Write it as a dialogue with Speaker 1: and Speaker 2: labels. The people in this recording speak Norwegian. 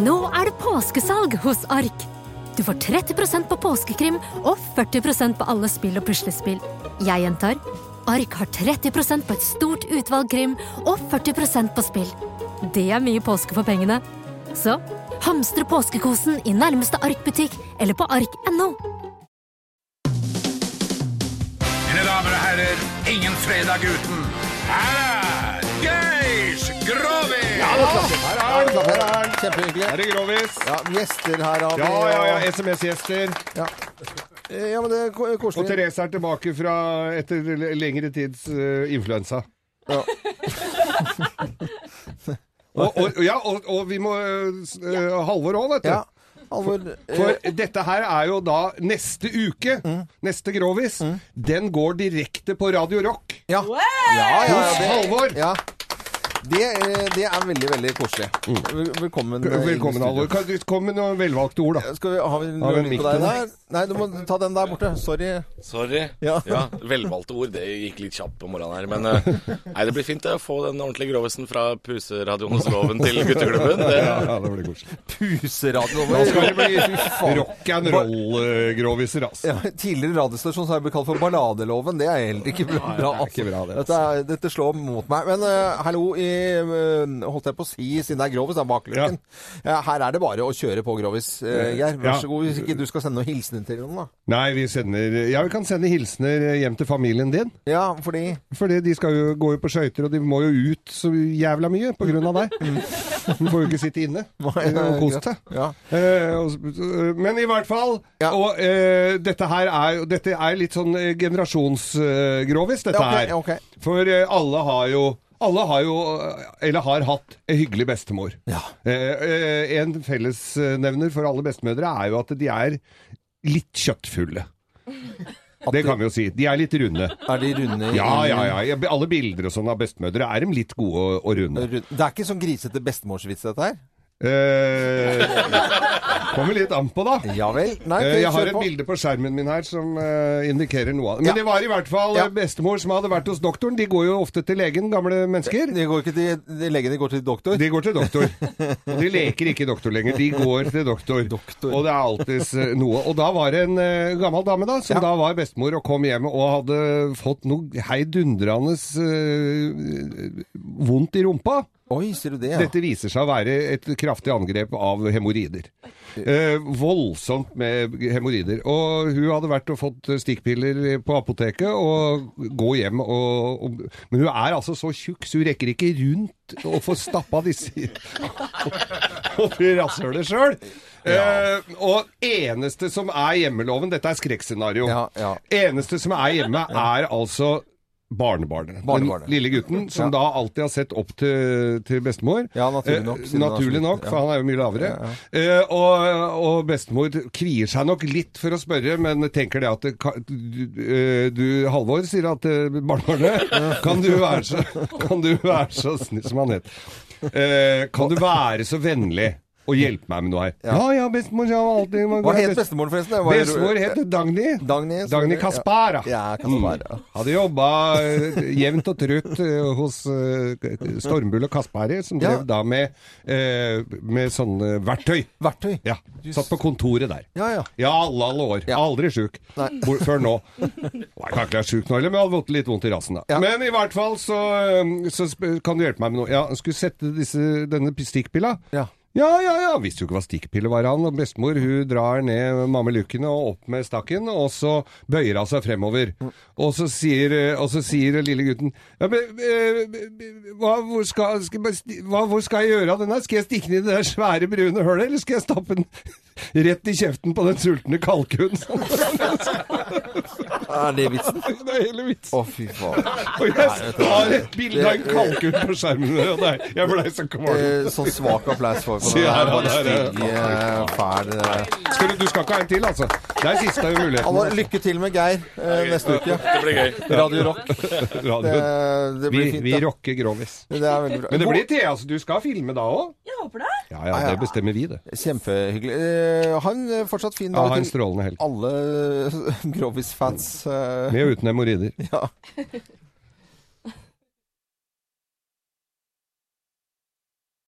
Speaker 1: Nå er det påskesalg hos Ark. Du får 30 på påskekrim og 40 på alle spill og puslespill. Jeg gjentar Ark har 30 på et stort utvalg krim og 40 på spill. Det er mye påske for pengene. Så hamstre påskekosen i nærmeste Ark-butikk eller på ark.no.
Speaker 2: Mine damer og herrer, ingen fredag uten. Her er Geir Grovis!
Speaker 3: Her er han! Her er han! Kjempehyggelig.
Speaker 4: Er det grovis?
Speaker 3: Ja, gjester her har vi.
Speaker 4: Ja, ja, ja.
Speaker 3: og-
Speaker 4: SMS-gjester.
Speaker 3: Eh, ja, men det er ko-
Speaker 4: Og
Speaker 3: koselig.
Speaker 4: Therese er tilbake fra etter l- lengre tids eh, influensa.
Speaker 3: Ja.
Speaker 4: Og, og, ja, og, og vi må eh, s- eh, Halvor òg, vet du.
Speaker 3: Ja. Alvor. eh,
Speaker 4: For dette her er jo da neste uke.
Speaker 3: Mm.
Speaker 4: Neste Grovis. Den går direkte på Radio Rock.
Speaker 3: Ja. Ja, ja, ja,
Speaker 4: Hos Halvor.
Speaker 3: Ja. Det, eh, det er veldig, veldig koselig. Vel- Velkommen. eh, inn i
Speaker 4: Mm. Velkommen,
Speaker 3: studio.
Speaker 4: Halvor. Kan du komme med noen velvalgte ord, da?
Speaker 3: Skal vi, har vi
Speaker 4: Har vi en
Speaker 3: noe
Speaker 4: mic
Speaker 3: lyd på deg
Speaker 4: til
Speaker 3: der? Nei, du må ta den der borte. Sorry.
Speaker 5: Sorry.
Speaker 3: Ja.
Speaker 5: Ja. Velvalgte ord. Det gikk litt kjapt på morgenen her. Men eh, nei, det blir fint det, å få den ordentlige grovisen fra puseradioenes loven til gutteklubben. Det,
Speaker 4: Ja, det blir koselig.
Speaker 3: Puseradio.
Speaker 4: Da skal det
Speaker 3: Fy
Speaker 4: bli
Speaker 3: faen.
Speaker 4: rock'n'roll-groviser, altså.
Speaker 3: Ja, tidligere radiostasjon så har jeg blitt kalt for Balladeloven. Det er heller ikke bra.
Speaker 4: er ikke bra, det,
Speaker 3: Dette, er, dette slår mot meg. Men eh, hallo, i, eh, holdt jeg på å si, siden det er Grovis, det er bakluken. Ja, her er det bare å kjøre på, Grovis. eh, Geir, vær
Speaker 4: Ja.
Speaker 3: så god. Hvis ikke du skal sende noen hilsener til noen, da.
Speaker 4: Nei, vi sender Ja, vi kan sende hilsener hjem til familien din.
Speaker 3: Ja, fordi
Speaker 4: Fordi de skal jo gå jo på skøyter, og de må jo ut så jævla mye på grunn av deg. Du får jo ikke sitte inne
Speaker 3: Nei, det er
Speaker 4: og kose deg.
Speaker 3: greit. Ja.
Speaker 4: Eh, og s- men i hvert fall
Speaker 3: Ja.
Speaker 4: Og eh, dette her er, jo- dette er litt sånn generasjonsgrovis, dette
Speaker 3: Ja, ok,
Speaker 4: her.
Speaker 3: ok.
Speaker 4: For eh, alle har jo alle har jo, eh, eller har hatt, en hyggelig bestemor.
Speaker 3: Ja.
Speaker 4: Eh, eh, en fellesnevner for alle bestemødre er jo at de er litt kjøttfulle. Det kan vi jo si. De er litt runde.
Speaker 3: Er de runde? i-
Speaker 4: Ja, ja, ja. Jeg- Alle bilder og sånn av bestemødre er dem litt gode og, og runde.
Speaker 3: Rund- Det er ikke sånn grisete bestemorsvits, dette her?
Speaker 4: Eh, kommer litt an på, da.
Speaker 3: Ja vel. Nei,
Speaker 4: Eh,
Speaker 3: ok,
Speaker 4: Jeg har
Speaker 3: kjør
Speaker 4: et
Speaker 3: på.
Speaker 4: bilde på skjermen min her som eh, indikerer noe av det.
Speaker 3: Ja.
Speaker 4: Men det var i hvert fall
Speaker 3: Ja.
Speaker 4: eh, bestemor som hadde vært hos doktoren. De går jo ofte til legen, gamle mennesker.
Speaker 3: De går ikke til, de legene går til doktor.
Speaker 4: De går til doktor. Og de leker ikke doktor lenger, de går til doktor.
Speaker 3: Doktor.
Speaker 4: Og det er alltids eh, noe. Og da var det en eh, gammel dame da, som da var bestemor og kom hjem og hadde fått noe heidundrende eh, vondt i rumpa.
Speaker 3: Oi, sier du det? Ja.
Speaker 4: Dette viser seg å være et kraftig angrep av hemoroider. Eh, voldsomt med hemoroider. Og hun hadde vært og fått stikkpiller på apoteket og gå hjem og, og Men hun er altså så tjukk, så hun rekker ikke rundt og få stappa disse oppi rasshølet sjøl. Eh, og eneste som er hjemmeloven Dette er skrekkscenario.
Speaker 3: Ja, ja.
Speaker 4: Eneste som er hjemme, er altså barnebarnet.
Speaker 3: Barnebarnet.
Speaker 4: Den lille gutten som da alltid har sett opp til, til bestemor.
Speaker 3: Ja, naturlig nok,
Speaker 4: Eh,
Speaker 3: siden han er så
Speaker 4: naturlig
Speaker 3: liten,
Speaker 4: nok, for
Speaker 3: ja.
Speaker 4: han er jo mye lavere. Eh, og, og bestemor kvier seg nok litt for å spørre, men tenker det at det, ka- du, eh, du, Halvor, sier at eh, barnebarnet Kan du være så, kan du være så snill som han het? Eh, kan du være så vennlig og hjelpe meg med noe her? Ja, ja, bestemor. Ja, alltid, man,
Speaker 3: Hva het bestemoren, forresten? Det var-
Speaker 4: Bestemor het Dagny.
Speaker 3: Dagny, som-
Speaker 4: Dagny Kaspara.
Speaker 3: sånn Ja, Kaspara.
Speaker 4: Mm. Hadde jobba eh, jevnt og trutt eh, hos eh, Stormbull og Kaspari, som
Speaker 3: Ja.
Speaker 4: drev da med, eh, med sånne verktøy.
Speaker 3: Verktøy.
Speaker 4: Ja, Satt på kontoret der.
Speaker 3: Ja, ja.
Speaker 4: Ja, alle alle år.
Speaker 3: Ja.
Speaker 4: Aldri sjuk. Hvor- Før nå. Nei, Jeg kan ikke være sjuk nå heller, men jeg hadde fått litt vondt i rassen da.
Speaker 3: Ja.
Speaker 4: Men i hvert fall så, eh, så sp- kan du hjelpe meg med noe. Ja, jeg skulle sette disse, denne stikkpilla.
Speaker 3: Ja.
Speaker 4: Ja, ja, ja. Visste jo ikke hva stikkpiller var han. Og bestemor hun drar ned mammelukkene og opp med stakken, og så bøyer hun seg fremover.
Speaker 3: Mm.
Speaker 4: Og så sier, eh, og så sier lille gutten ja, men, eh, hva, hvor, skal, skal, jeg bare sti- hva, hvor skal jeg gjøre av den her? Skal jeg stikke den i det der svære brune hølet, eller skal jeg stappe den rett i kjeften på den sultne kalkunen?
Speaker 3: Er det vitsen?
Speaker 4: det er hele vitsen.
Speaker 3: Å, fy faen.
Speaker 4: Og jeg har et bilde av en kalkun på skjermen, og det er- jeg blei så kvalm.
Speaker 3: Eh, Sånn svak applaus for, for
Speaker 4: Se
Speaker 3: den
Speaker 4: her,
Speaker 3: der
Speaker 4: ja, der, ja.
Speaker 3: stygge, fæl eh.
Speaker 4: Skal du- Du skal ikke ha en til, altså. Det er siste muligheten.
Speaker 3: Alle, Lykke til med Geir eh, neste uke.
Speaker 5: det blir gøy.
Speaker 3: Radio Rock. Det,
Speaker 4: Radio.
Speaker 3: det
Speaker 4: Vi,
Speaker 3: blir fint.
Speaker 4: vi
Speaker 3: da.
Speaker 4: rocker Grovis.
Speaker 3: Det er veldig bra.
Speaker 4: Men det blir te, altså. Du skal filme da òg?
Speaker 6: Jeg håper det.
Speaker 4: Ja, ja, det bestemmer vi, det.
Speaker 3: God- Kjempehyggelig. Eh, Ha en eh, fortsatt fin
Speaker 4: Ja,
Speaker 3: dag
Speaker 4: ha en
Speaker 3: til
Speaker 4: strålende helg.
Speaker 3: alle Grovis-fans. eh,
Speaker 4: Med og uten hemoroider.
Speaker 3: Ja.